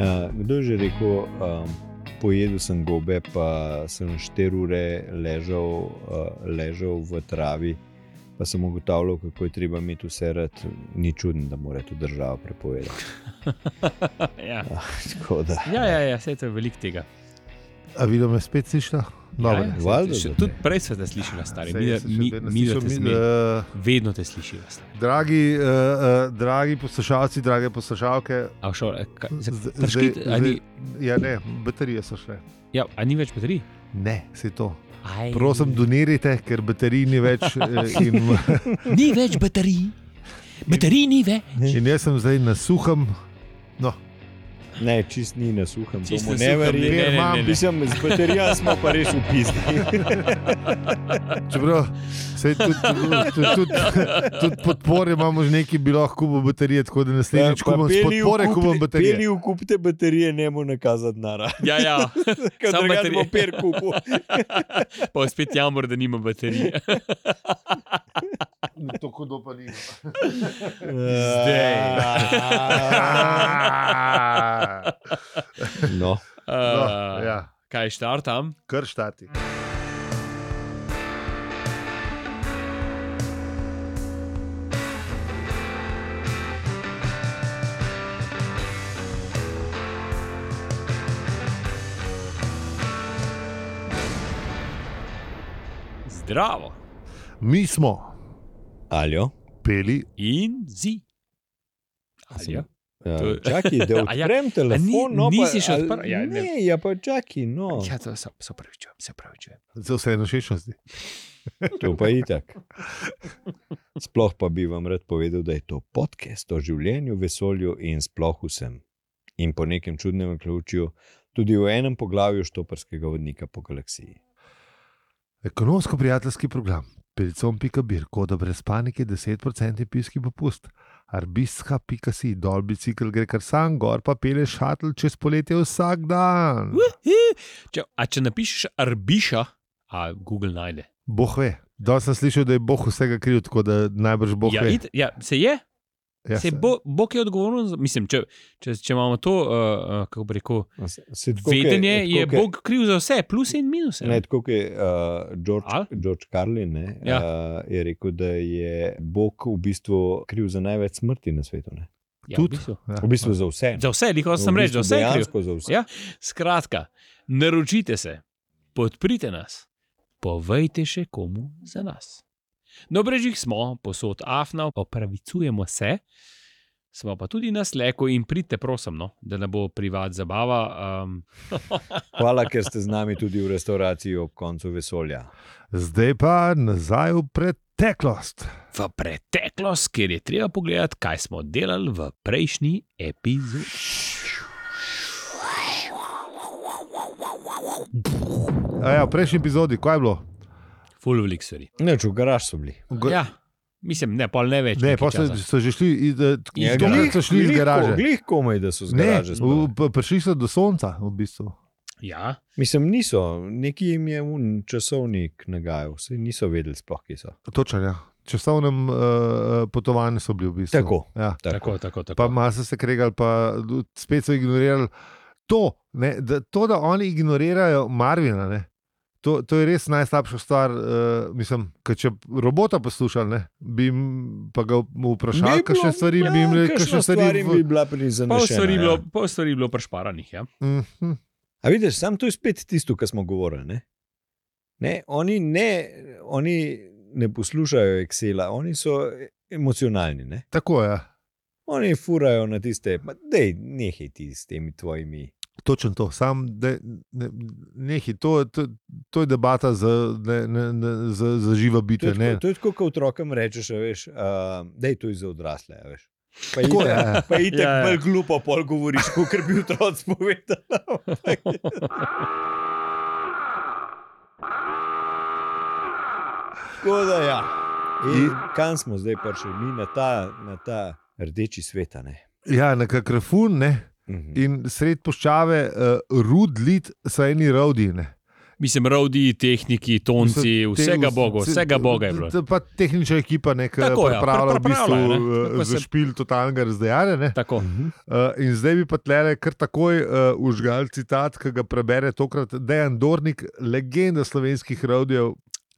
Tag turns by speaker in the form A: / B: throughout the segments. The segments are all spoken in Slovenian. A: Uh, kdo je že rekel, um, pojedel sem gobe, pa sem 4 ure ležal, uh, ležal v travi, pa sem ugotavljal, kako je treba imeti vse rad. Ni čudno, da mora to država prepovedati.
B: ja.
A: Ah, tako da.
B: Ja, ja, ja, vse to je veliko tega.
C: A videl me spet slišala? Dobro.
B: ja,
A: valjda,
B: ja, še,
A: da
B: tudi
A: ne.
B: prej sem te slišala, stari.
C: Saj,
B: Mi,
C: jaz sem še
B: mi,
C: vedno
B: mi,
C: slišal,
B: mi,
C: mi,
B: mi,
C: eh,
B: vedno te slišala, stari.
C: Dragi, uh, uh, dragi poslušalci, drage poslušalke,
B: A v šoli, kaj se
C: Z-
B: težki,
C: zdaj-
B: a ni,
C: ja, ne, baterije so šle.
B: ja, a ni več baterij?
C: Ne, se to.
B: Aj,
C: Prosim, donirajte, ker baterij ni več. eh, In,
B: Ni več baterij, baterij ni več.
C: in jaz sem zdaj na suhem,
A: Ne, čist ni na suhem,
B: Čisto
A: to mu
B: suhem,
A: ne verjamem.
C: ker imam
B: ne.
A: Mislim, z baterijo smo pa res upisani.
C: čeprav se tudi, tudi, tudi, tudi podpore imamo že neki, bi lahko kupil baterije, tako da
B: Ja,
C: naslednjič kupim s podpore, kupim baterije.
A: Peli v kup te baterije, ne mu nakazati nara.
B: Ja, ja,
A: Kaj drugače
B: Samo baterije.
A: bo per kupu.
B: pa spet jamor, da nima baterije.
C: To hudo pa ni.
B: Zdaj.
A: No.
C: Ah. No,
B: Uh,
C: ja,
B: Kaj štartam?
C: kar štati.
B: Zdravo
C: Mi smo
A: Aljo.
C: peli,
B: in zi.
A: Sem-
B: Ali ja?
A: Ja,
B: To je-
A: čakaj, da
B: A ja,
A: odprem ja, telefon.
B: ni-
A: no,
B: nisi še
A: ali-
B: odprl? Ja,
A: ne,
B: ne.
A: ne, ja pa čakaj, no.
B: Ja, to se se opravičujem, se opravičujem.
C: za vse eno šešnosti.
A: To pa je itak. Sploh pa bi vam rad povedal, da je to podcast o življenju, vesolju in sploh vsem. In po nekem čudnem ključju, tudi v enem poglavju Štoparskega vodnika po galaksiji.
C: Ekonomsko-prijateljski program, pelicom.bir, koda brez panike, 10% pivski popust, arbistka.si, dol bicikl gre kar sam, gor pa pele šatl čez poletje vsak dan.
B: Če, a če napišeš arbiša, a Google najde.
C: Boh ve. Danes sem slišal, da je Bog vsega kriv, tako da najbrž Bog
B: ja,
C: ve.
B: it, ja, se je,
C: Ja,
B: se
C: se-
B: bo, Bog je odgovoren. Za, mislim, če, če, če imamo to, uh, kako bi rekel,
A: Se- se tako, ke-
B: vedenje,
A: tako,
B: je
A: ke-
B: Bog kriv za vse, plus in minus.
A: Ne, tako kot je uh, George,
B: Ali?
A: George Carlin ne,
B: Ja.
A: uh, je rekel, da je Bog v bistvu kriv za največ smrti na svetu. Ne?
B: ja, v
C: tudi.
B: bistvu.
C: Ja.
A: V bistvu za vse.
B: Za vse, lih
A: No, V
B: sem reč, za
A: bistvu
B: vse je kriv.
A: Dejansko za vse.
B: Ja. Skratka, naročite se, podprite nas, povejte še komu za nas. Na brežih smo, posod afna, opravičujemo se, smo pa tudi na sleku in pridite, prosim, no, da ne bo privat zabava. Um,
A: Hvala, ker ste z nami tudi v restauraciji ob koncu vesolja.
C: Zdaj pa nazaj v preteklost.
B: v preteklost, kjer je treba pogledati, kaj smo delali v prejšnji epizodi.
C: A Ja, v prejšnji epizodi, kaj je bilo?
B: Full of liksori.
A: Neč v garaž so bili.
C: Go-
B: Ja, mislim, ne, pol ne več.
C: ne,
B: nekaj
C: potem
B: časa.
C: so že šli iz, eh, iz, iz, so šli iz garaže.
A: Ja, Glih komaj, da so z
C: Ne,
A: garaže.
C: v,
A: spadali.
C: p- prišli so do sonca, v bistvu.
B: Ja,
A: Mislim, niso, neki jim je un časovnik nagajal, vse niso vedeli sploh, kje so.
C: Točno, ja. Časovnem uh, potovanju so bili v bistvu.
A: Tako.
C: Ja.
B: tako, tako. tako.
C: Pa malo so se kregali, pa d- spet so ignorirali to, ne, da, to da oni ignorirajo Marvina. Ne. To, to je res najslabša stvar. Uh, mislim, ker če bi robota poslušali, ne, bi jim pa ga
A: Bi
C: vprašali,
A: bilo,
C: kakšne stvari bi jim rekli,
A: kakšna
C: kakšne
A: stvar
C: stvari
A: jim bi
C: v-
A: bila prizaneta.
B: Pol stvari,
C: ja.
B: bilo, pol stvari bilo prešparanih. Ja?
C: Mhm.
A: A vidiš, sam to je spet tisto, kar smo govorili. Ne? Ne, oni, ne, oni ne poslušajo Excela, oni so emocionalni. Ne?
C: Tako je. Ja.
A: Oni furajo na tiste, da je nekaj ti s temi tvojimi.
C: Točno to, sam de, ne, nehi, to, to, to je debata za, ne, ne, ne, za, za živa
A: To je,
C: bitja. ne.
A: tako, to je tako, kot otrokom rečeš, a veš, uh, da je to je za odrasle. a Veš. Pa
C: Tako
A: itak-
C: je.
A: Pa je tako
B: Ja, ja.
A: ja, bolj glupo, pol govoriš, kot bi otroci povedal. Tako da ja. In kam smo zdaj prišli, mi na ta, na ta rdeči svet. a ne?
C: Ja, nekako rafun, ne.
B: Mm.
A: Mhm.
C: eh, in sred poščave uh, rudlit so eni rodine.
B: Mislim, rodiji, tehniki, tonci,
C: Mislim, te-
B: vsega boga,
C: se-
B: vsega boga je bilo.
C: te- Pa tehnična ekipa, ki je
B: Tako, ja,
C: pripravila v bistvu
B: pripravila je, ne. Tako
C: eh,
B: se-
C: za špil totalnega razdejanja. ne.
B: Tako.
C: Eh, In zdaj bi pa tlele kar takoj eh, užgal citat, ki ga prebere tokrat Dejan Dornik, legenda slovenskih rodijev,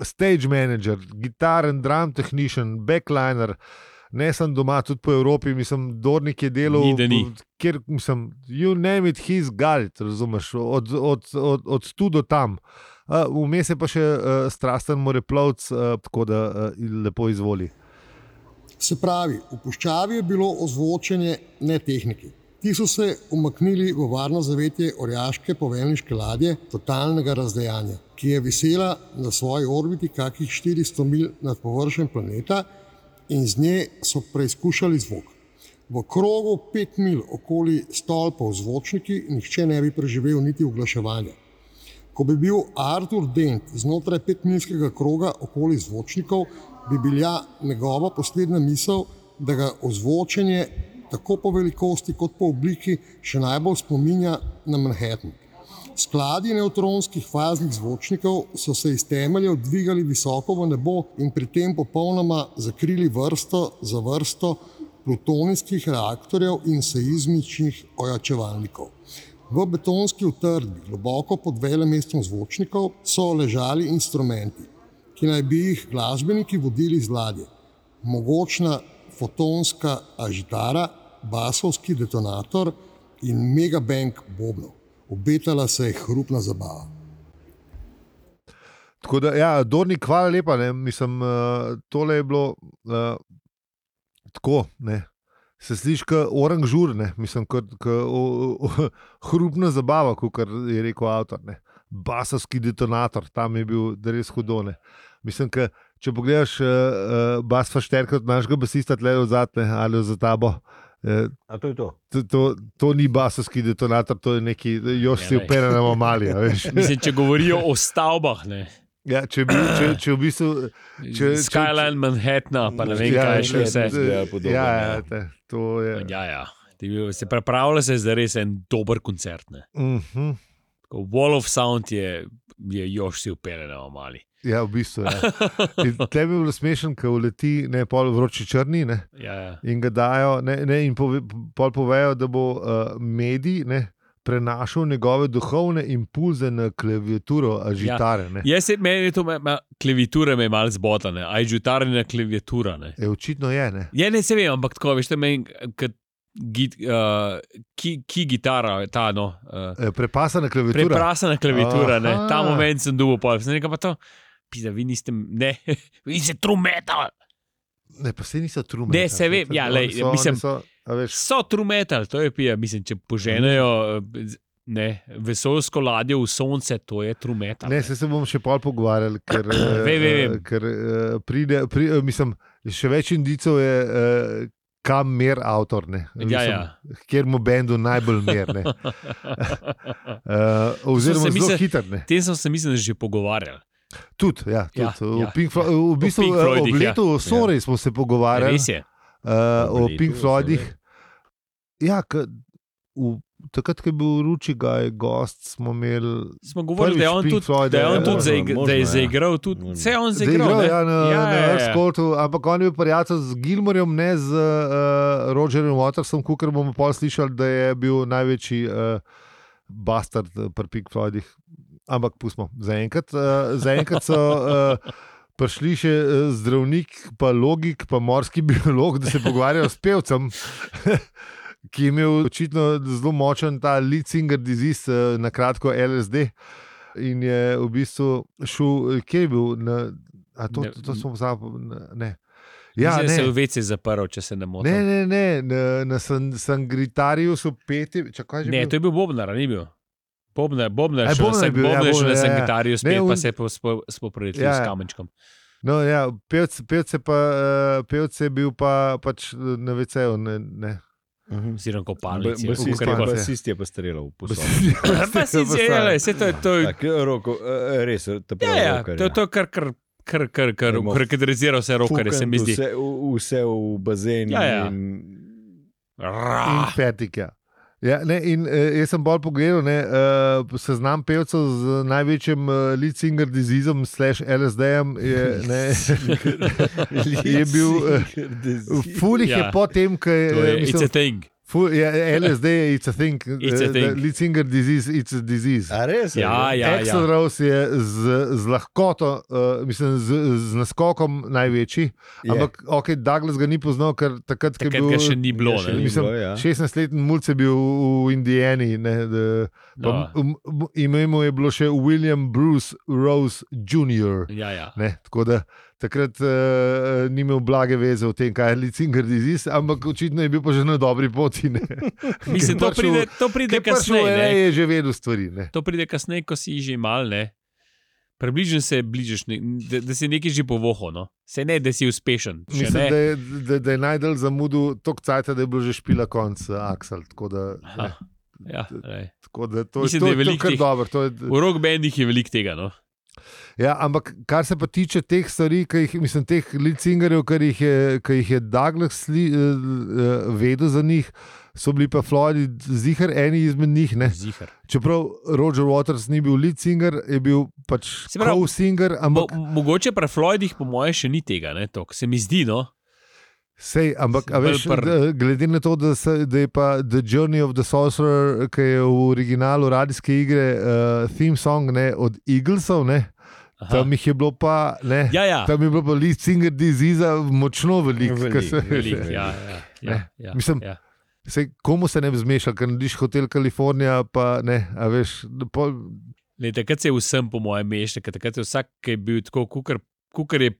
C: stage manager, gitaren, drum technician, backliner. Ne sem doma, tudi po Evropi, mislim, Dornik je delal,
B: Ni, da ni.
C: kjer sem, you name it, he's got it, razumeš, od, od, od, od tu do tam. Eh, Vmes je pa še eh, strasten moreplovc, eh, tako da eh, lepo izvoli.
D: Se pravi, v puščavi je bilo ozvočenje ne tehniki. Ti so se umaknili v varno zavetje orjaške poveljniške ladje totalnega razdejanja, ki je visela na svoji orbiti kakih 400 mil nad površjem planeta in z nje so preizkušali zvok. V krogu pet mil okoli stolpov zvočniki nihče ne bi preživel niti oglaševanja. Ko bi bil Artur Dent znotraj petminskega kroga okoli zvočnikov, bi bila njegova poslednja misel, da ga ozvočenje tako po velikosti kot po obliki še najbolj spominja na Manhattan. Skladi nevtronskih faznih zvočnikov so se iz temeljev dvigali visoko v nebo in pri tem popolnoma zakrili vrsto za vrsto plutonijskih reaktorjev in seizmičnih ojačevalnikov. V betonski utrdbi, globoko pod velemestom zvočnikov, so ležali instrumenti, ki naj bi jih glasbeniki vodili z ladje. Mogočna fotonska ažitara, basovski detonator in megabank bobnov. Obetala se je hrupna zabava.
C: Tako da, ja, Dornik, hvala lepa. Ne. Mislim, eh, tole je bilo eh, tako. Ne. Se sliši, kot orang žurne, mislim, kot kot o- o- o- hrupna zabava, kot je rekel avtor. Ne. Basovski detonator, tam je bil da res hudone. Mislim, ka, če pogledaš, uh, uh, bas fašterka od našega basista tle od zadne ali za tabo. eh,
A: A to je to.
C: To, to, to ni basovski detonator, to je neki, još si
B: Ja, ne.
C: upere na mamali.
B: Mislim, če govorijo o stavbah, ne.
C: Ja, če, bi, če, če v bistvu Če- če-
B: Skyline Manhattna, pa ne vem,
A: Ja,
B: kaj je še
A: ja,
B: vse.
A: ja. Zgleda podobno,
C: Ja,
A: ja.
C: ja, te, to je.
B: Ja, ja. Ti bi- Se pripravlja se za res en dober koncert. Ne.
C: Uh -huh.
B: Tako Wall of Sound je, je još si upele na omali.
C: ja, v bistvu. Ja. In Tebi je bilo smešen, ko uleti ne, pol vroči črni ne,
B: Ja, ja.
C: in ga dajo, ne, ne, in pove, pol povejo, da bo uh, medij ne, prenašal njegove duhovne impulze na klaviaturo, a žitare. Ne.
B: Jaz se meni to, ma, ma, klaviatura me je malo zbotane, a je žutarina klaviatura. Ne.
C: E, očitno je. Ne.
B: Ja, ne se vem, ampak tako veš, da meni, kot git, uh, ki, ki gitara, ta no. Uh,
C: E, prepasana klaviatura.
B: Preprasna klaviatura, ne.
C: Aha.
B: ta moment sem dubo pa, sem rekel pa to. Pisa, vi niste, ne, vi ste trumetal.
C: ne, pa se niso trumili.
B: Ne, se vem, ja, lej, mislim- So trumetal, to je pija, mislim, če poženejo eh, z- ne, vesolsko ladjo v sonce, to je trumetal.
C: Ne, se, se bomo še pol pogovarjali, ker, eh,
B: Vem, vem, vem.
C: ker eh, pride, pri, eh, mislim, še več indicov je, eh, kam mer avtor, ne,
B: Ja, ja.
C: kjer mu bendu najbolj mer. Ne. Eh, oziroma,
B: se mi
C: zelo
B: se-
C: hiter. Ne.
B: Tem sem se, mislim, da že pogovarjal.
C: Tudi, ja, tudi.
B: Ja,
C: Ja,
B: ja,
C: ja, Pink Flo- v bistvu
B: Pink
C: eh,
B: Floydih,
C: ob
B: ja.
C: letu Sore smo se pogovarjali
B: Res je.
C: eh,
A: Ob
C: o
A: letu
C: Pink
A: Osore.
C: Floydih. Ja, k, v, takrat, ko je bil Ručigaj gost, smo imeli
B: Smo govorili, da je on
C: Prvič Pink
B: tudi,
C: Floyd,
B: da je on
A: ja,
B: tudi
A: možno,
B: zaig- da je
A: možno, ja.
B: zaigral, tudi
A: Možno.
B: vse je on
C: Zdaj igral
B: zaigral. ne.
C: ja, na,
B: Ja,
C: ja, na
B: ja, ja.
C: Earthscortu, ampak on je bil prijatelj z Gilmorjem, ne z uh, Rogerjem Watersom, ker bomo pol slišali, da je bil največji uh, bastard eh, pri Pink Floydih. Ampak pustimo, zaenkrat uh, za enkrat so. Uh, Prišli še eh, zdravnik, pa logik, pa morski biolog, da se pogovarjajo s pevcem, ki je imel očitno zelo močen ta Litzinger disease, eh, na kratko LSD. In je v bistvu šel, eh, kje je bil, na, a to,
B: Ne-
C: to, to smo pozabili. na- Ne. Ja,
B: Mislim, da se je
C: ne.
B: v vece zaprl, če se ne motim.
C: Ne, ne, ne, na, na San, Sangritariju so peti, čakaj, že.
B: Ne,
C: bil?
B: to je bil Bobnar, ni bil. Bobnar, Bobnar,
C: Aj,
B: še,
C: Bobnar je
B: Bobnar,
C: bil, ja,
B: Bobnar je še na
C: Bobnar, ja, ja.
B: sangitariju, spet
C: Ne,
B: pa
C: un-
B: se je po- spo- spoprojetil
C: Ja,
B: s
C: ja.
B: kamenčkom.
C: No, ja, pevc, pevc, je pa, eh, pevc je bil pa, pač eh, na VC-ju. Ne, ne. Mhm.
B: Oziroma, kopalnic.
A: Basist,
B: je,
C: basist,
B: kakor je bilo.
C: pa-
A: basist je pa streljal po sobi.
B: Pa si
C: Basist je pa
B: izdelal, vse to je. To, je-
A: Tako, roko, eh, res, te
B: ja,
A: pravi.
B: ja, to, to je kar, kar, kar, kar, kar,
A: Emo-
B: karakterizira vse roke, se mi zdi.
A: Vse, v- vse v bazen.
B: Ja, ja.
A: In...
B: Ra,
C: In petik, ja. Ja, ne, in, eh, jaz sem bolj pogledal ne, eh, seznam pevcev z največjim eh, Litzinger diseasom, slash LSD-jem. Je, ne, je bil. Eh, Ful jih je
B: Ja.
C: potem, ko je.
B: To je
C: eh,
B: it's a
C: mislim,
B: thing.
C: ful- ja, LSD je it's a thing.
B: It's a
C: eh,
B: thing.
C: Litzinger disease, it's a disease.
A: A res?
B: Ja, ja,
C: Axel
B: ja.
C: Rose je z, z lahkoto, uh, mislim, z, z naskokom največji.
A: Je.
C: Ampak, ok, Douglas ga ni poznal, ker takrat, ko je
B: Takrat
C: bil
B: ga še ni bilo.
A: Ga še
B: ne.
A: ni.
C: Mislim,
A: bilo, ja.
C: 16-letni mulj je bil v Indijani. Ne, da,
B: Ja.
C: pa, m, m, ime mu je bilo še William Bruce Rose Jr.
B: Ja, ja.
C: Ne, tako da takrat uh, ni imel blage veze o tem, kaj je Licinger disease, ampak očitno je bil pa že na dobri poti. ne.
B: Mislim, to
C: Ko je prišel-
B: pride, to
C: ko
B: pride
C: je prišel,
B: kasneje.
C: ne,
B: ne.
C: je že vedel stvari. Ne.
B: To pride kasneje, ko si že mal, ne. Približno se bližaš, ne, da, da si nekaj že povoho, no. se ne, da si uspešen. še
C: Mislim,
B: ne.
C: da je, da, da je najdel zamudil toliko časa, da je bilo že špila konc, eh, Aksel. Tako da,
B: Aha,
C: ne,
B: ja, lej.
C: tako da to,
B: Mislim,
C: to,
B: da je
C: to je
B: veliko
C: kar
B: teh-
C: dobro. To je,
B: v rock bandih je veliko tega. No.
C: ja, ampak kar se pa tiče teh stvari, ki jih, mislim, teh licingerjev, ki jih je, ki jih je Douglas sli, eh, eh, vedel za njih, so bili pa Floydi zihar eni izmed njih. Ne?
B: Zihar.
C: Čeprav Roger Waters ni bil licinger, je bil pač
B: Se pravi,
C: co-singer,
B: Mo,
C: ampak
B: mogoče pri Floydih, po mojem, še ni tega, ne, tok. se mi zdi. No.
C: Sej, ampak a
B: Bolj
C: veš,
B: prn.
C: da, glede na to, da, se, da je pa The Journey of the Sorcerer, ki je v originalu radijske igre, uh, theme song ne, od Eaglesov, ne,
B: Aha.
C: tam jih je bilo pa, ne,
B: Ja, ja.
C: tam je bilo pa Lee Singer disease močno veliko.
A: Veliko,
C: ke se-
A: veliko.
B: Velik, ja, ja, ja,
C: Ne,
B: ja,
C: Eh, mislim,
B: ja.
C: Sej, komu se ne bi zmešal, ker narediš hotel Kalifornija, pa ne, a veš, da pol,
B: Ne, takrat se je vsem, po mojem, mešal, ker takrat je vsak, ki je bil tako, kukar je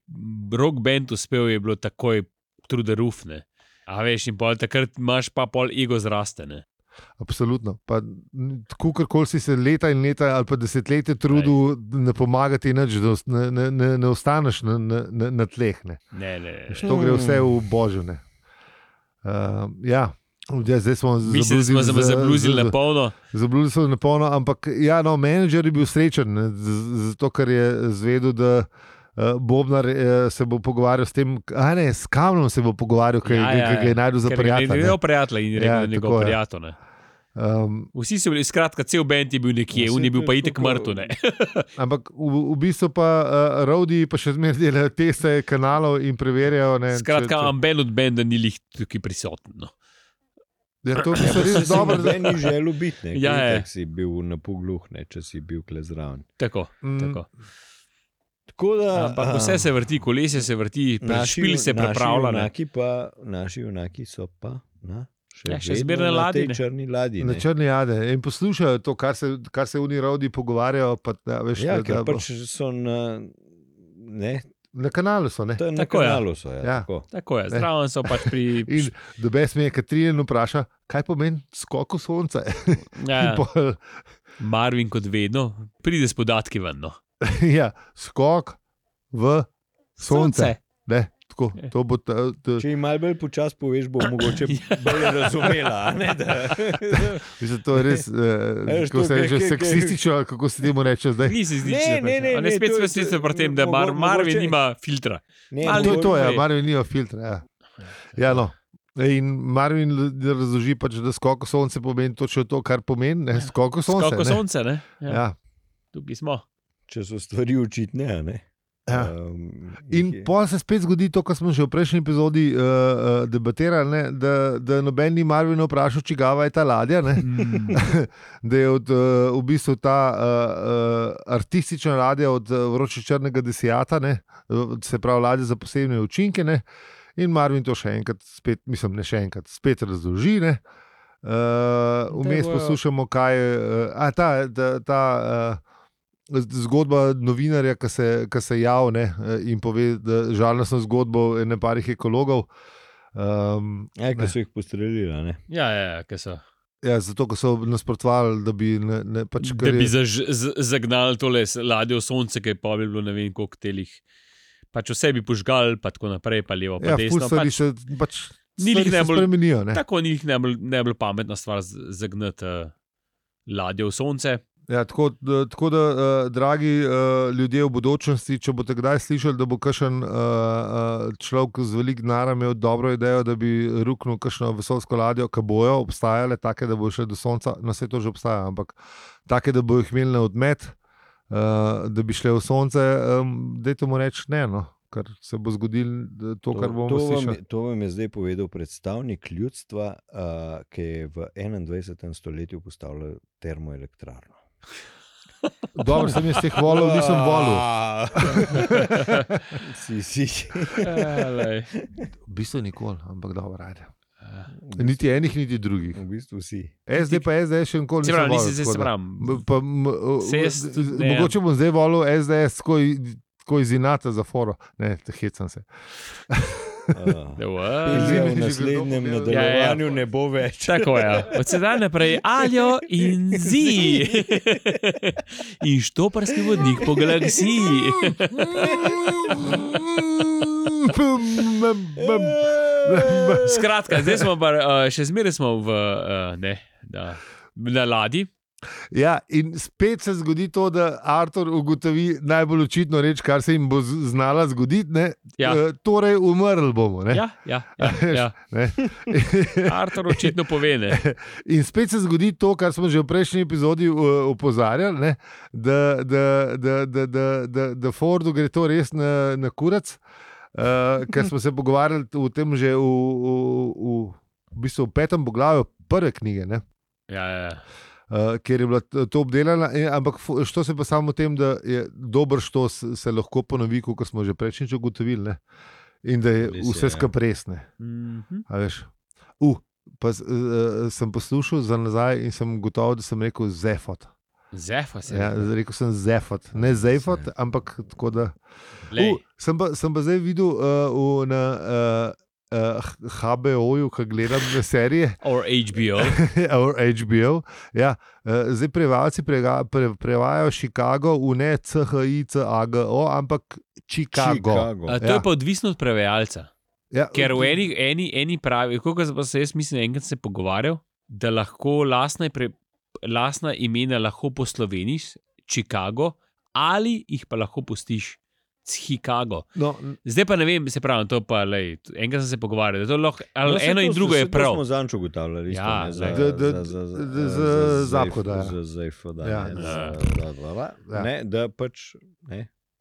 B: rock band uspel, je bilo takoj trudarufne. A veš, in pol takrat imaš pa pol ego zrastene.
C: absolutno. Pa, n- tako, kako si se leta in leta ali pa desetletja trudil, ne pomagati nič, da os- ne, ne, ne, ne ostaneš na, na, na, na tleh. Ne.
B: Ne, ne, ne.
C: Veš, To gre vse v božene. Uh, ja. Ja, zdaj smo
B: Mislim, da smo se zabluzili na
C: polno.
B: polno.
C: Zabluzili smo na polno, ampak ja, no, menedžer je bil srečen, ne, z- zato ker je zvedel, da uh, Bobnar uh, se bo pogovarjal s tem, a ne, s Kamnom se bo pogovarjal, ki
B: Ja,
C: ja,
B: ja,
C: ja, ga je
B: ja.
C: najdel za
B: Ker ga Ne
C: prijatelja.
B: gre
C: ne.
B: o prijatelja in
C: Ja,
B: rekel, da je
C: tako
B: njegov
C: je.
B: prijatelj. ne.
C: Um,
B: Vsi so bili, skratka, cel bend je bil nekje,
A: Ja,
B: un
A: saj
B: je bil
A: to
B: pa
A: je
B: itek
A: tako,
B: mrtev. ne.
C: ampak v, v bistvu pa uh, Rodi pa še zmeraj delajo teste kanalov in preverjajo. Ne,
B: Skratka, amben od benda ni lih tukaj prisoten. No.
C: ja, to bi se res
A: Dobro,
C: dobro.
A: da ni želel biti, ne,
B: Ja,
A: ja,
B: je.
A: ker si bil na pogluh, ne, če si bil kle zraven.
B: Tako,
C: Mm. Ja,
B: tako.
A: Tako da,
B: Ampak vse se vrti, kolesje se vrti, špil se
A: Naši
B: prepravlja. ne.
A: junaki, pa, naši junaki so pa na, še,
B: Ja, še
A: vedno
B: zmeraj na
A: na
B: ladji,
A: tej
B: ne.
A: črni ladji.
C: Na
A: ne.
C: črni jade in poslušajo to, kar se, kar se oni rodi pogovarjajo. Pa, da, veš,
A: Ja,
C: da, da,
A: ker
C: bo-
A: pač so na, ne,
C: Na kanalu so. Ne?
A: to je na
B: Tako, ja.
A: kanalu. So, ja,
C: Ja.
A: tako.
B: Tako je,
C: Ne.
B: zraven so pač pri.
C: In dobes mi je Katrin vpraša, kaj pomeni skok v sonce.
B: Ja,
C: Ja.
B: ja.
C: Pol,
B: Marvin, kot vedno, pride s podatki ven. No.
C: ja, skok v sonce. Ne, tako, to bo ta, ta,
A: Če jim malo bolj počasi poveš, bo mogoče bolje razumela. a Ne, da,
C: mislim, to je res, eh,
A: Veš,
C: kako
A: to,
C: se
A: kaj-
C: reče,
A: kaj- kaj-
C: seksistično, ali kako se temu reče zdaj.
B: Nisi zdi, pač-
A: Ne, ne, ne, ne,
B: Spet
A: to
B: smo
A: je-
B: se pri tem, da
A: mogo-
B: Mar Marvin
A: mogoče-
B: nima filtra.
A: ne,
B: Malo
C: To je to, ja,
B: Torej.
C: Marvin nima filtra. Ja. Ja, no. In Marvin l- razloži, pač, da skok v sonce pomeni točno to, kar pomeni, ne, skok v sonce.
B: Kako
C: ne.
B: sonce, ne? Ja,
C: Ja.
B: tukaj smo.
A: če so stvari očitne. a Ne,
C: Ja.
A: Um, jih
C: In
A: je-
C: pa se spet zgodi to, kar smo že v prejšnji epizodi uh, uh, debatirali, ne, da, da noben ni Marvin vprašal, čigava je ta ladja. ne.
B: Mm.
C: Da je od, uh, v bistvu ta uh, uh, artistična ladja od uh, vroče črnega desijata, ne, uh, se pravi ladja za posebne učinke. Ne, in Marvin to še enkrat, spet, mislim, ne še enkrat, spet razloži. Ne, uh, vmes
B: bojo-
C: poslušamo, kaj je uh, a, ta. ta, ta uh, zgodba novinarja, ki se, ki se javne in pove da, žalostno zgodbo ene parih ekologov. Um,
A: Ja, ki so jih postrelili. a Ne.
B: Ja, ja, ja, ker so.
C: ja, zato, ker so nasprotovali, da bi, ne, ne, pač,
B: Da
C: kar
B: bi
C: je-
B: zaž, z, zagnali tole s- ladjo v sonce, ki je pa bilo ne vem koliko telih. Pač vse bi požgal, pa tako naprej, pa levo, pa
C: ja,
B: ja,
C: ful
B: desno.
C: stvari
B: Pač,
C: se pač,
B: ni
C: stvari
B: lih
C: se
B: najbolj-
C: spremenijo. Ne?
B: tako ni jih najbolj, najbolj pametna stvar z- zagnati uh, eh, ladjo v sonce.
C: Ja, tako, da- tako da, eh, dragi eh, ljudje v budočnosti, če boste kdaj slišali, da bo kakšen eh, eh, človek z veliko denarja imel dobro idejo, da bi ruknil kakšno vesolsko ladjo, ki bojo obstajale, take, da bo še do sonca, na svetu že obstaja, ampak take, da bo jih imeli na odmet, eh, da bi šle v sonce, um, dajte mu reči ne, no, ker se bo zgodilo eh, to, to kar bomo
A: to, vam,
C: slišali.
A: je- to vam je zdaj povedal predstavnik ljudstva, uh, ki je v 21. stoletju postavljal termoelektrarno.
C: Dobro, sem jaz teh volil, nisem volil.
A: si, si.
B: Elej.
C: V bistvu nikoli, ampak dobro, ajde.
B: Ja.
C: Niti enih, niti drugih.
A: V bistvu si.
C: SD pa SD še nikoli
B: Se pravi,
C: nisem
B: nisi
C: volil,
B: zdaj
C: tako
B: se
C: da.
B: pravi.
C: M- Pa, m, o,
B: Se jaz
C: o,
B: tudi
C: z-
B: ne.
C: mogoče bom zdaj volil SDS, tako i- tako iz Inata za foro. Ne, te hecam se.
A: Uh,
C: Ja,
B: eh.
C: Izjemno.
A: v naslednjem nadaljevanju ne bo več.
B: Tako je. Od sedaj naprej alijo in zi. In štoparski vodnik po galaksiji. Skratka, zdaj smo pa, eh, še zmeraj smo v, eh, ne, na, na ladji.
C: Ja, in spet se zgodi to, da Artur ugotovi najbolj očitno reč, kar se jim bo z- znala zgoditi. ne.
B: Ja.
C: E, Torej, umrli bomo. Ne?
B: Ja, ja, ja, ja.
C: Ne?
B: Artur očitno pove. Ne.
C: In spet se zgodi to, kar smo že v prejšnji epizodi uh, opozarjali, ne, da, da, da, da, da, da, da Fordu gre to res na, na kurac. Uh, ker smo se pogovarjali o tem že v, v, v, v, bistvu v petem poglavju prve knjige, ne,
B: Ja, ja, ja.
C: uh, kjer je bila t- to obdelana. In, ampak što se pa samo v tem, da je dobro, što se, se lahko ponovi, kot smo že prejšnjič ugotovili. Ne, in da je
A: Res je,
C: vse
A: ja.
C: skupaj resne.
B: Mhm.
C: A veš. Uh, pa, uh, sem poslušal za nazaj in sem gotov, da sem rekel zefot.
B: Zefa se
C: Ja,
B: je.
C: rekel sem zefot, ne zefot, ampak tako da.
B: Ja,
C: Uh, sem, pa, sem pa zdaj videl uh, v, na uh, uh, HBO-ju, ki gledam na serije,
B: Or HBO.
C: or HBO. Ja, uh, zdaj prevajalci prega- pre, prevajajo Chicago v ne CHI, CAGO, ampak Chicago.
B: A, to
C: Ja.
B: je pa odvisno od prevajalca.
C: Ja,
B: Ker v eni, eni, eni pravi, kot pa se jaz mislim, enkrat se pogovarjal, da lahko lastna, pre, lastna imena lahko posloveniš, Chicago, ali jih pa lahko pustiš. Chicago.
C: no,
B: Zdaj pa ne vem, se pravi, to pa le. Enkrat sem se pogovarjal, da to lahko.
A: No,
B: No,
A: saj
B: eno
A: to
B: in
A: s-
B: drugo
A: saj
B: je
A: to
B: prav.
A: smo zanč ugotavljali. isto,
B: Ja,
A: ne,
B: glej.
A: za-
C: Da-
A: za-
C: da-
A: za- za-
C: da- z-
A: za-
C: zapko, da, ja.
A: za- za- zajfo, da,
C: Ja,
A: ne,
B: ja.
A: za- za- za- za-
C: Ja.
A: ne, Da pač. ne,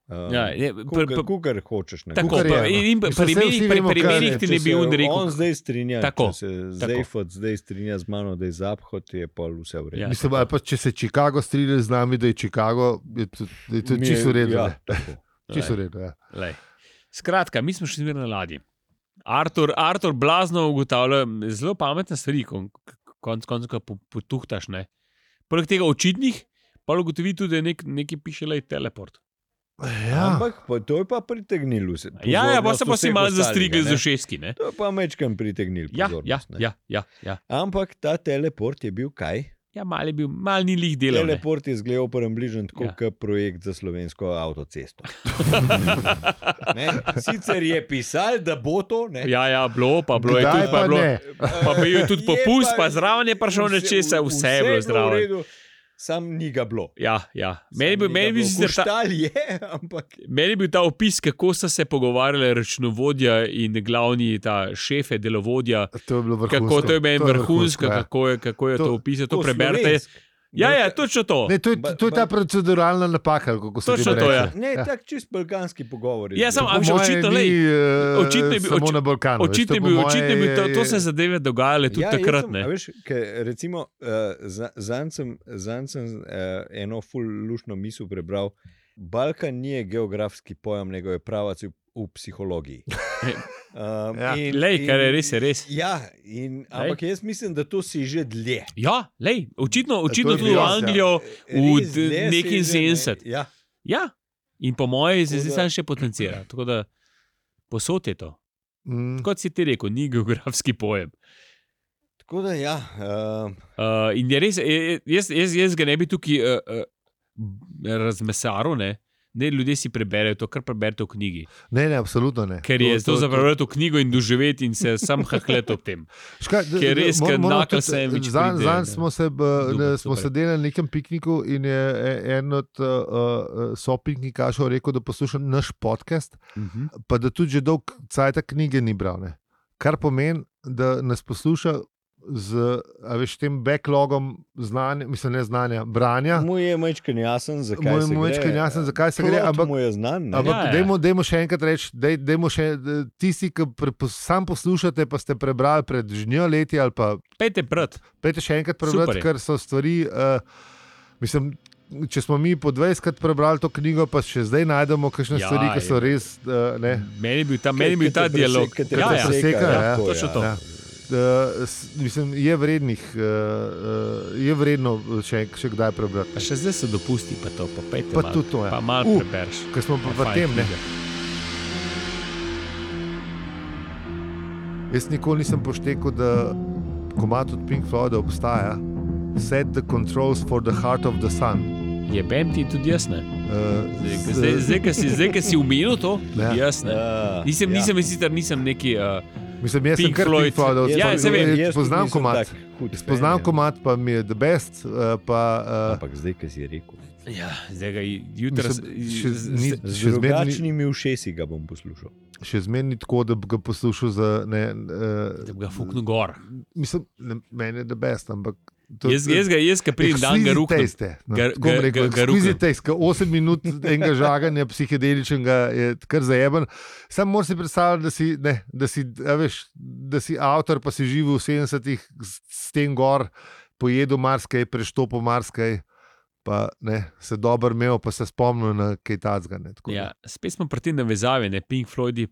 A: um,
B: Ja, ne, pr-
A: kukar-
B: pr-
A: Kukar hočeš na
B: Tako,
C: Kukar je ja.
B: pa,
C: eno.
B: in, in
C: Mislim,
B: pri
C: saj vsi
B: primerih, pri
C: vemo, kaj je.
B: primerih ti ne bi on rekel.
A: On zdaj strinja.
B: Tako,
A: Tako, če se Zejfot zdaj strinja z mano, da je zaphod, je pa vse v redu.
B: Ja.
C: Mislim, ali pa, če se Chicago strinja z nami, da je Chicago, je to, je to
A: Mi je-
C: čisto v redu.
A: ja,
C: Ja.
A: tako.
C: Čisto v redu ja.
B: Lej. Skratka, mi smo še zmeraj na ladji. Artur, Artur blazno ugotavlja zelo pametne stvari, kon- konec koncev, ko po- potuhtaš. Ne? Poleg tega očitnih, pa ugotovi tudi, da je nek, nekaj piše, da je teleport.
C: Ja.
A: Ampak pa, to je pa pritegnilo vse.
B: Ja, ja, pa se pa
A: pozornost
B: si malo
A: vseh ostalih,
B: zastrigel
A: ne.
B: z ošeski. Ne?
A: To je pa mečkam pritegnilo.
B: Ja, ja,
A: pozornost, ne.
B: ja, ja, ja.
A: Ampak ta teleport je bil kaj?
B: ja malo je bil, malo ni lih delal. ne.
A: Teleport je zgledal prvem bližnjem tako
B: Ja.
A: ja. kot projekt za slovensko avtocesto. Ne? Sicer je pisal, da bo to, ne?
B: Ja, ja, bilo, pa bilo je
C: Kdaj
B: tudi, pa,
C: pa
B: je bilo,
C: ne?
B: pa bil je tudi
A: Je
B: popust,
A: pa-
B: pa zraven je prišel nečesa, vse, vse je bilo
A: v
B: zraven.
A: redu, Sam ni ga bilo.
B: Ja, ja. Meni bi,
A: Sam ni
B: meni
A: ga
B: bi
A: bilo.
B: sicer ta,
A: Koštal je, ampak
B: Meni je bil ta opis, kako so se pogovarjali računovodja in glavni ta šefe, delovodja,
C: Ja, To je bilo vrhunsko.
B: kako to je meni
C: To je vrhunsko,
B: vrhunsko,
C: ja.
B: kako je, kako je
C: To-
B: to, to opisal. To
A: tako
B: preberite.
A: slovensk.
B: Ja, ja,
A: Balkan-
B: točno to.
C: Ne, to, je,
A: Ba-
C: to je ta
A: ba-
C: proceduralna napaka, ali kako se
B: Točno to, ja.
A: Ne, tako čist balkanski pogovori.
B: Ja, samo-
C: Po
B: a veš,
C: moje
B: očitno,
C: ni,
B: lej,
C: eh,
B: očitno je bil-
C: samo
B: oči-
C: na Balkanu.
B: Očitno je bil, očitno je bil, to, to se je zadeve dogajale E, tudi
A: Ja, jaz
B: takrat.
A: sem, a
B: ne.
A: Veš, ke, recimo, uh, zanj sem, zanj sem uh, eno fullušno misel prebral. Balkan ni geografski pojem, nego je pravac v, v psihologiji. Um,
C: Ja.
A: in-
B: E, Lej, kar je
A: in-
B: res, je res.
A: Ja, in, ampak jaz mislim, da to si že dlje. Eh,
B: Ja, lej, očitno, očitno
C: je
B: tudi v
C: res, ja.
B: Anglijo, v
A: Res dlje si že,
B: neki
A: ne.
B: 70.
A: Ja.
B: Ja, in po mojem se
A: Tako
B: zdaj
A: da-
B: samo še potencira. Tako da posod je to.
C: Mm.
B: Kot si ti rekel, ni geografski pojem.
A: Tako da, ja, um,
B: Uh, in je res, je- je- jaz, jaz, jaz ga ne bi tukaj uh, uh, eh, razmesaril, ne? Ne, ljudje si preberejo to, kar preberete v knjigi.
C: Ne, ne, absolutno ne.
B: Ker je to, to, to zapravljati v knjigo in doživeti in se sam hahlet ob tem.
C: Ška, d-
B: Ki je res,
C: d-
B: ker
C: moramo
B: nakal
C: tudi-
B: sandvič
C: Zanj
B: pride,
C: zanj
B: ne.
C: smo se, b,
B: Dobro,
C: ne, smo
B: super.
C: sedeli na nekem pikniku in je e- en od uh, uh, sopiknikašov rekel, da posluša naš podcast,
B: Mhm.
C: pa da tudi že dolg cajt knjige ni bral. Ne. Kar pomeni, da nas posluša z a veš, tem backlogom znanja, mislim, ne znanja, branja.
A: Mu je majčken jasen, zakaj
C: Ja. Moj-
A: se
C: majčkeno
A: gre.
C: jasen, zakaj se gre,
A: Plot
C: ampak-
A: mu je znan. ne.
C: Ampak,
B: Ja, ja.
C: ja, dajmo, dajmo še enkrat reči, daj, dajmo še d- tisti, ki pre, pos- sam poslušate, pa ste prebrali pred žnjo leti ali pa
B: Pejte prt.
C: Pejte še enkrat
B: Super
C: prebrati,
B: je.
C: ker so stvari. Uh, mislim, če smo mi po 20krat prebrali to knjigo, pa še zdaj najdemo kakšne
B: Ja,
C: ja, stvari, ki so
B: je.
C: res. Uh, ne,
B: Meni je bil ta, Ja,
A: Kaj
B: meni je bil
A: te
B: ta
A: preseka,
B: dialog.
A: kaj te
B: Ja, ja.
C: preseka. ja.
A: tako,
B: Točno to.
C: ja. Uh, s- mislim, je, vrednih, uh, uh, je vredno še, še kdaj prebrati.
B: Pa še zdaj se dopusti, pa to, pa pejte.
C: Pa
B: malo,
C: tudi to, ja.
B: Pa malo
C: Uh,
B: uh, prebereš.
C: Ker smo pa
B: Pa
C: v
B: fajn
C: tem, ne.
B: knjige.
C: jaz nikoli nisem poštekel, da komat od Pink Floyda obstaja. Set the controls for the heart of the sun.
B: Je bem ti tudi jaz, ne.
C: Uh,
B: Zdaj,
C: s-
B: ko- Zdaj, zdaj, ko si- zdaj, ker si umenil to, tudi
C: Ja.
B: jaz ne.
A: Ja,
B: Nisem,
A: ja.
B: nisem, jaz sicer nisem neki. Uh,
C: Mislim, jaz sem
B: Pink
C: kar
B: Floyd.
C: Pink Floydov.
B: Ja,
C: fan.
B: saj vem.
C: Jaz
A: Jaz tudi
C: Poznam
A: nisem
C: komat.
A: tak hud
C: Poznam
A: fan, ja.
C: komat, pa mi je The Best. eh, Pa, eh,
A: Ampak zdaj, ki si rekel.
B: ja, zdaj ga jutri.
C: Mislim, še ni-
A: Z
C: Še zmeraj ni-
A: drugačnimi ušesi ga bom poslušal.
C: še zmeraj ni tako, da bi ga poslušal za ne.
B: Da
C: Uh,
B: bi ga fuknil gor.
C: mislim, ne, meni je The Best, ampak.
B: Jaz, jaz ga, jaz ga pridem dan, ga rukam.
C: Ste,
B: Ga- ga- ga- ga ruknem.
C: Skizitejste, 8 minut enega žaganja psihedeličnega je kar zajeben. Sam moraš si predstavljati, da si, ne, da, si, a veš, da si avtor, pa si živel v 70-ih s s tem gor, pojedel marsikaj, preštopil marsikaj, pa ne, se dobro imel, pa se spomnil na kaj tacga. ne, tako da.
B: Ja, spet smo pri tem navezavi, ne Pink Floyd in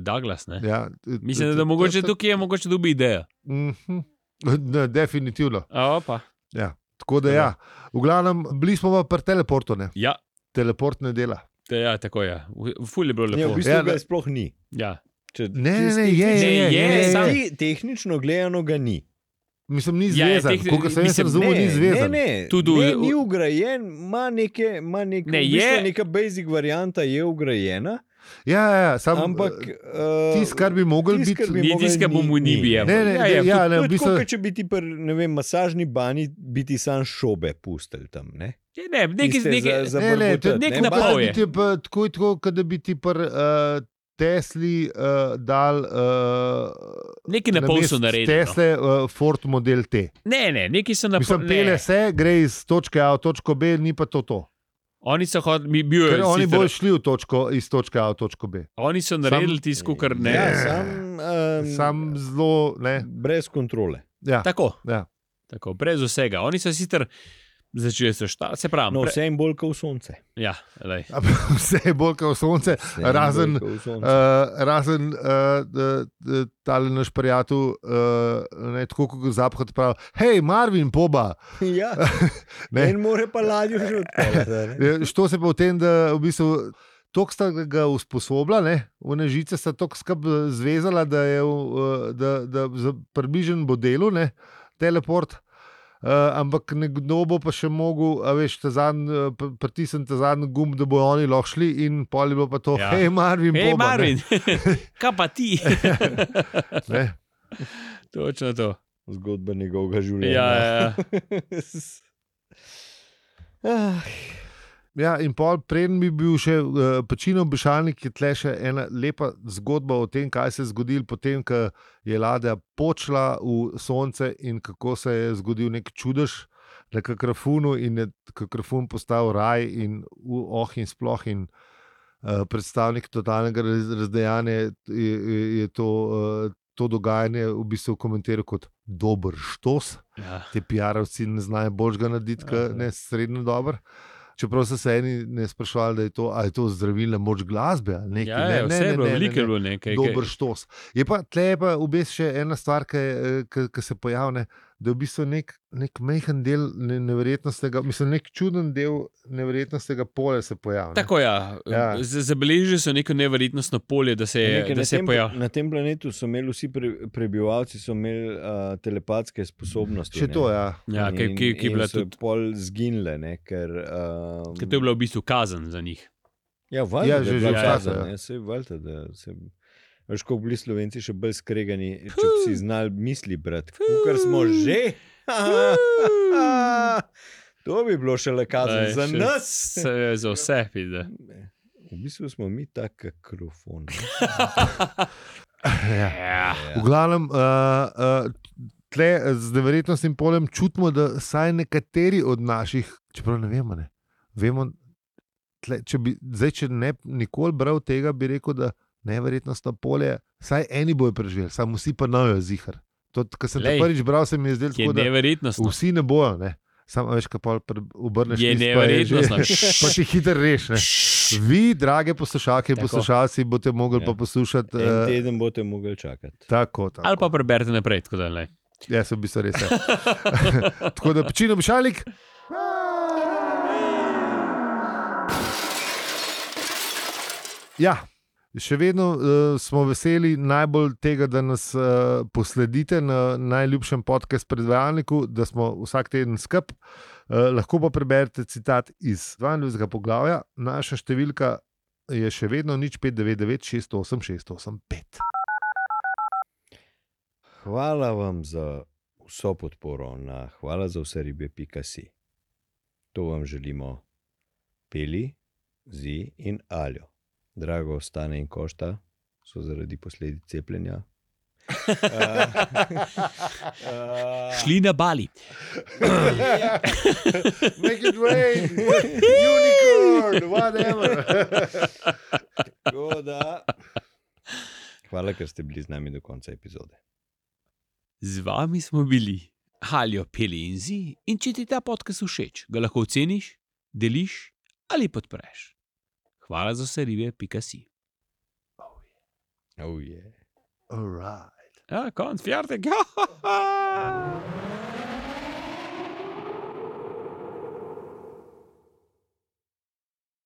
B: Douglas. Ne. Ja.
C: Ja, t-
B: Mislim, da,
C: t- t-
B: da mogoče
C: t-
B: tukaj je mogoče dobi idejo.
C: Mhm. Ne, Definitivno.
B: A, opa.
C: Tako da, ja. v glavnem, bili smo pa pri teleportu, ne.
B: Ja,
C: teleport ne dela.
B: te, ja, tako je. V- Ful je bilo
A: Ne, v
B: lepo.
A: bistvu
C: Ja,
A: ga
C: da-
A: sploh ni.
B: Ja.
A: Če
C: Ne, ne,
A: tisti-
C: ne, je, je,
B: Ne, je,
C: je, je, je,
B: sam-
C: je.
A: Ti, tehnično gledano ga ni.
C: Mislim, ni
B: Ja, je
C: zvezan.
B: tehni-
C: Ja, Kolikor sem jaz
B: mislim,
C: razumel, ni
A: ne,
C: zvezan.
A: ne,
B: Tudi v-
A: ne, ni ugrajen, ima neke, ima neke,
B: Ne,
A: v bistvu
B: je-
A: neka basic varianta je ugrajena,
C: Ja, ja, sam,
A: ampak
C: eh,
A: eh,
C: tisto, kar bi mogel
A: tisto,
C: biti.
A: kar bi
B: Ni
A: mogel,
B: tiska bomo ni bija.
C: Ne, ne,
B: ja,
C: ne,
B: ja,
A: To
C: ja, ne,
A: je
C: v
A: tako,
C: bistvu,
A: kot če bi ti pri ne vem, masažni banji biti sam šobe pustel tam. Ne?
B: Ja, ne, nekaj,
A: Tiste
B: nekaj,
A: za- za
C: ne, ne, to je
A: brbotat,
B: nek
A: ne,
B: napad.
A: pa-
B: napol
C: tako,
B: je.
C: da bi ti tako, je tako, kot da bi ti pri uh, Tesli uh, dal. Uh,
B: nekaj na pol so naredili. no.
C: Tesle, uh, Ford model T.
B: Ne, ne, nekaj so na
C: Mislim,
B: pol.
C: pele se, gre iz točke A v točko B, ni pa to to.
B: Oni so hodili, mi bil
C: Ker
B: je
C: oni
B: sicer-
C: bodo šli v točko, iz točke A v točko B.
B: Oni so naredili tisto, kar ne.
A: Ja,
B: Ja,
A: sam, um,
C: Sam zelo, ne.
A: brez kontrole.
C: Ja.
B: tako.
C: Ja.
B: tako, brez vsega. Oni so sicer začeli so šta, se pravi.
A: No,
B: pre-
A: vse jim bolj kot sonce.
B: Ja, lej.
C: Vse je bolj kot sonce,
A: Vse jim
C: razen
A: bolj kot sonce.
C: Uh, razen uh, ta naš prijatelj, uh, ne, tako kot zapad pravi, hej, Marvin, poba.
A: Ja,
C: eh, Ne.
A: en more pa ladjo že odpeljati.
C: Je, Što se pa v tem, da v bistvu. Tok sta ga usposobila, ne? v nežice sta tako skrb zvezala, da je v- eh, da, da za približen bo delo, ne? teleport. Uh, ampak nekdo bo pa še mogel, a veš, ta zadnji, eh, pr- pritisniti ta zadnji gumb, da bojo oni lahko šli, in pol je bilo pa to,
B: Ja.
C: ja. hej, Marvin,
B: Hej,
C: boba, ne."
B: Marvin, kaj pa ti?
C: Ne?
B: Točno to.
A: Zgodba njegovega
B: Ja,
A: življenja.
B: ja, ja.
A: Ah,
C: Ja, in pol, preden bi bil še uh, pečino obešalnik, je tle še ena lepa zgodba o tem, kaj se je zgodilo potem, ko je ladja počla v sonce in kako se je zgodil nek čudež na Kakrafunu in je Kakrafun postal raj in v- oh in sploh in uh, predstavnik totalnega raz- razdejanja je, je, je to, uh, to dogajanje v bistvu komentiral kot dober štos
B: ja.
C: te PR-ovci ne znajo božga narediti,
A: Aha.
C: ker ne srednjo dobro. Čeprav so se eni ne sprašvali, da je to, a je to zdravilna moč glasbe ali nekaj.
B: Ja, ja, vse
C: ne, ne,
B: je bilo,
C: ne, ne,
B: veliko je
C: ne,
B: bilo nekaj. kaj-
C: Dober štos. Je pa tle pa v bistvu še ena stvar, ki je, eh, ki- ki se pojavlja, da je v bistvu nek, nek mehen del ne, neverjetnostnega, mislim, nek čuden del neverjetnostnega polja se pojavlja. ne.
B: Tako ja. ja.
C: Ja.
B: Zabeležili so neko neverjetnostno polje, da se je,
A: Nekaj,
B: da
A: na,
B: se je
A: tem,
B: pojavilo.
A: na tem planetu so imeli vsi pre, prebivalci so imeli, uh, telepatske sposobnosti.
C: Še
A: ne.
C: to, ja.
B: Ja, ki,
A: In-
B: ki, ki je
A: in
B: bila
A: so
B: tudi.
A: Pol zginile, ne, ker. Um,
B: Ker to je bila v bistvu kazen za njih.
A: Ja, valjda,
C: Ja,
A: da
C: že-
A: je
C: že
A: bila
B: včasih,
A: časa,
C: ja.
A: ne, saj valjda, da se- Veš, kako bili Slovenci še bolj skregani, če bi si znali misli brati, kar smo že. To bi bilo še le kazen
B: Ej,
A: za
B: še-
A: nas.
B: Se je za vse pide.
A: V bistvu smo mi tako krofon.
C: Ja.
B: Ja.
C: V glavnem, uh, uh, tle z neverjetnostnim polem čutimo, da vsaj nekateri od naših, čeprav ne vemo, ne, vemo tle, če bi zdaj, če ne bi nikoli bral tega, bi rekel, da neverjetnostno polje, vsaj eni bojo preživeli, samo vsi pa nojo zihar. To, kar sem
B: Glej,
C: Lej, prvič bral, se mi je zdelo,
B: Je
C: tako, da
B: neverjetno.
C: vsi ne bojo. Ne. Samo a veš, kaj pol pre- obrneš.
B: Je no.
C: list, pa je že-
B: neverjetnostno.
C: Pa si hiter reš. Ne. Vi, drage poslušalke in
B: Tako.
C: poslušalci, boste mogli
A: Ja.
C: ja. pa poslušati.
A: En
C: eh,
A: teden boste mogli čakati.
C: Tako, tako.
B: Ali pa preberite naprej, tako da ne.
C: Jaz sem v bistvu res. ja. Tako da počinom šalik. Ja, še vedno uh, smo veseli najbolj tega, da nas uh, posledite na najljubšem podkastu predvajalniku, da smo vsak teden skup. Uh, lahko pa preberete citat iz 22. poglavja, naša številka je še vedno nič 599 68 685.
A: Hvala vam za vso podporo, na hvala za vse ribe, pika si. To vam želimo, peli, zi in aljo. Drago stane in košta, so zaradi posledic cepljenja.
B: Šli na Bali.
A: Ja.
C: Make it rain, unicorn, whatever.
A: Tako da- Hvala, ker ste bili z nami do konca epizode.
B: Z vami smo bili Halijo Peli in Zi. In če ti ta podcast všeč, ga lahko oceniš, deliš ali podpreš. Hvala za vse ribe, pika si.
A: Oh, yeah.
C: All right.
B: Ja, konc, fjarte.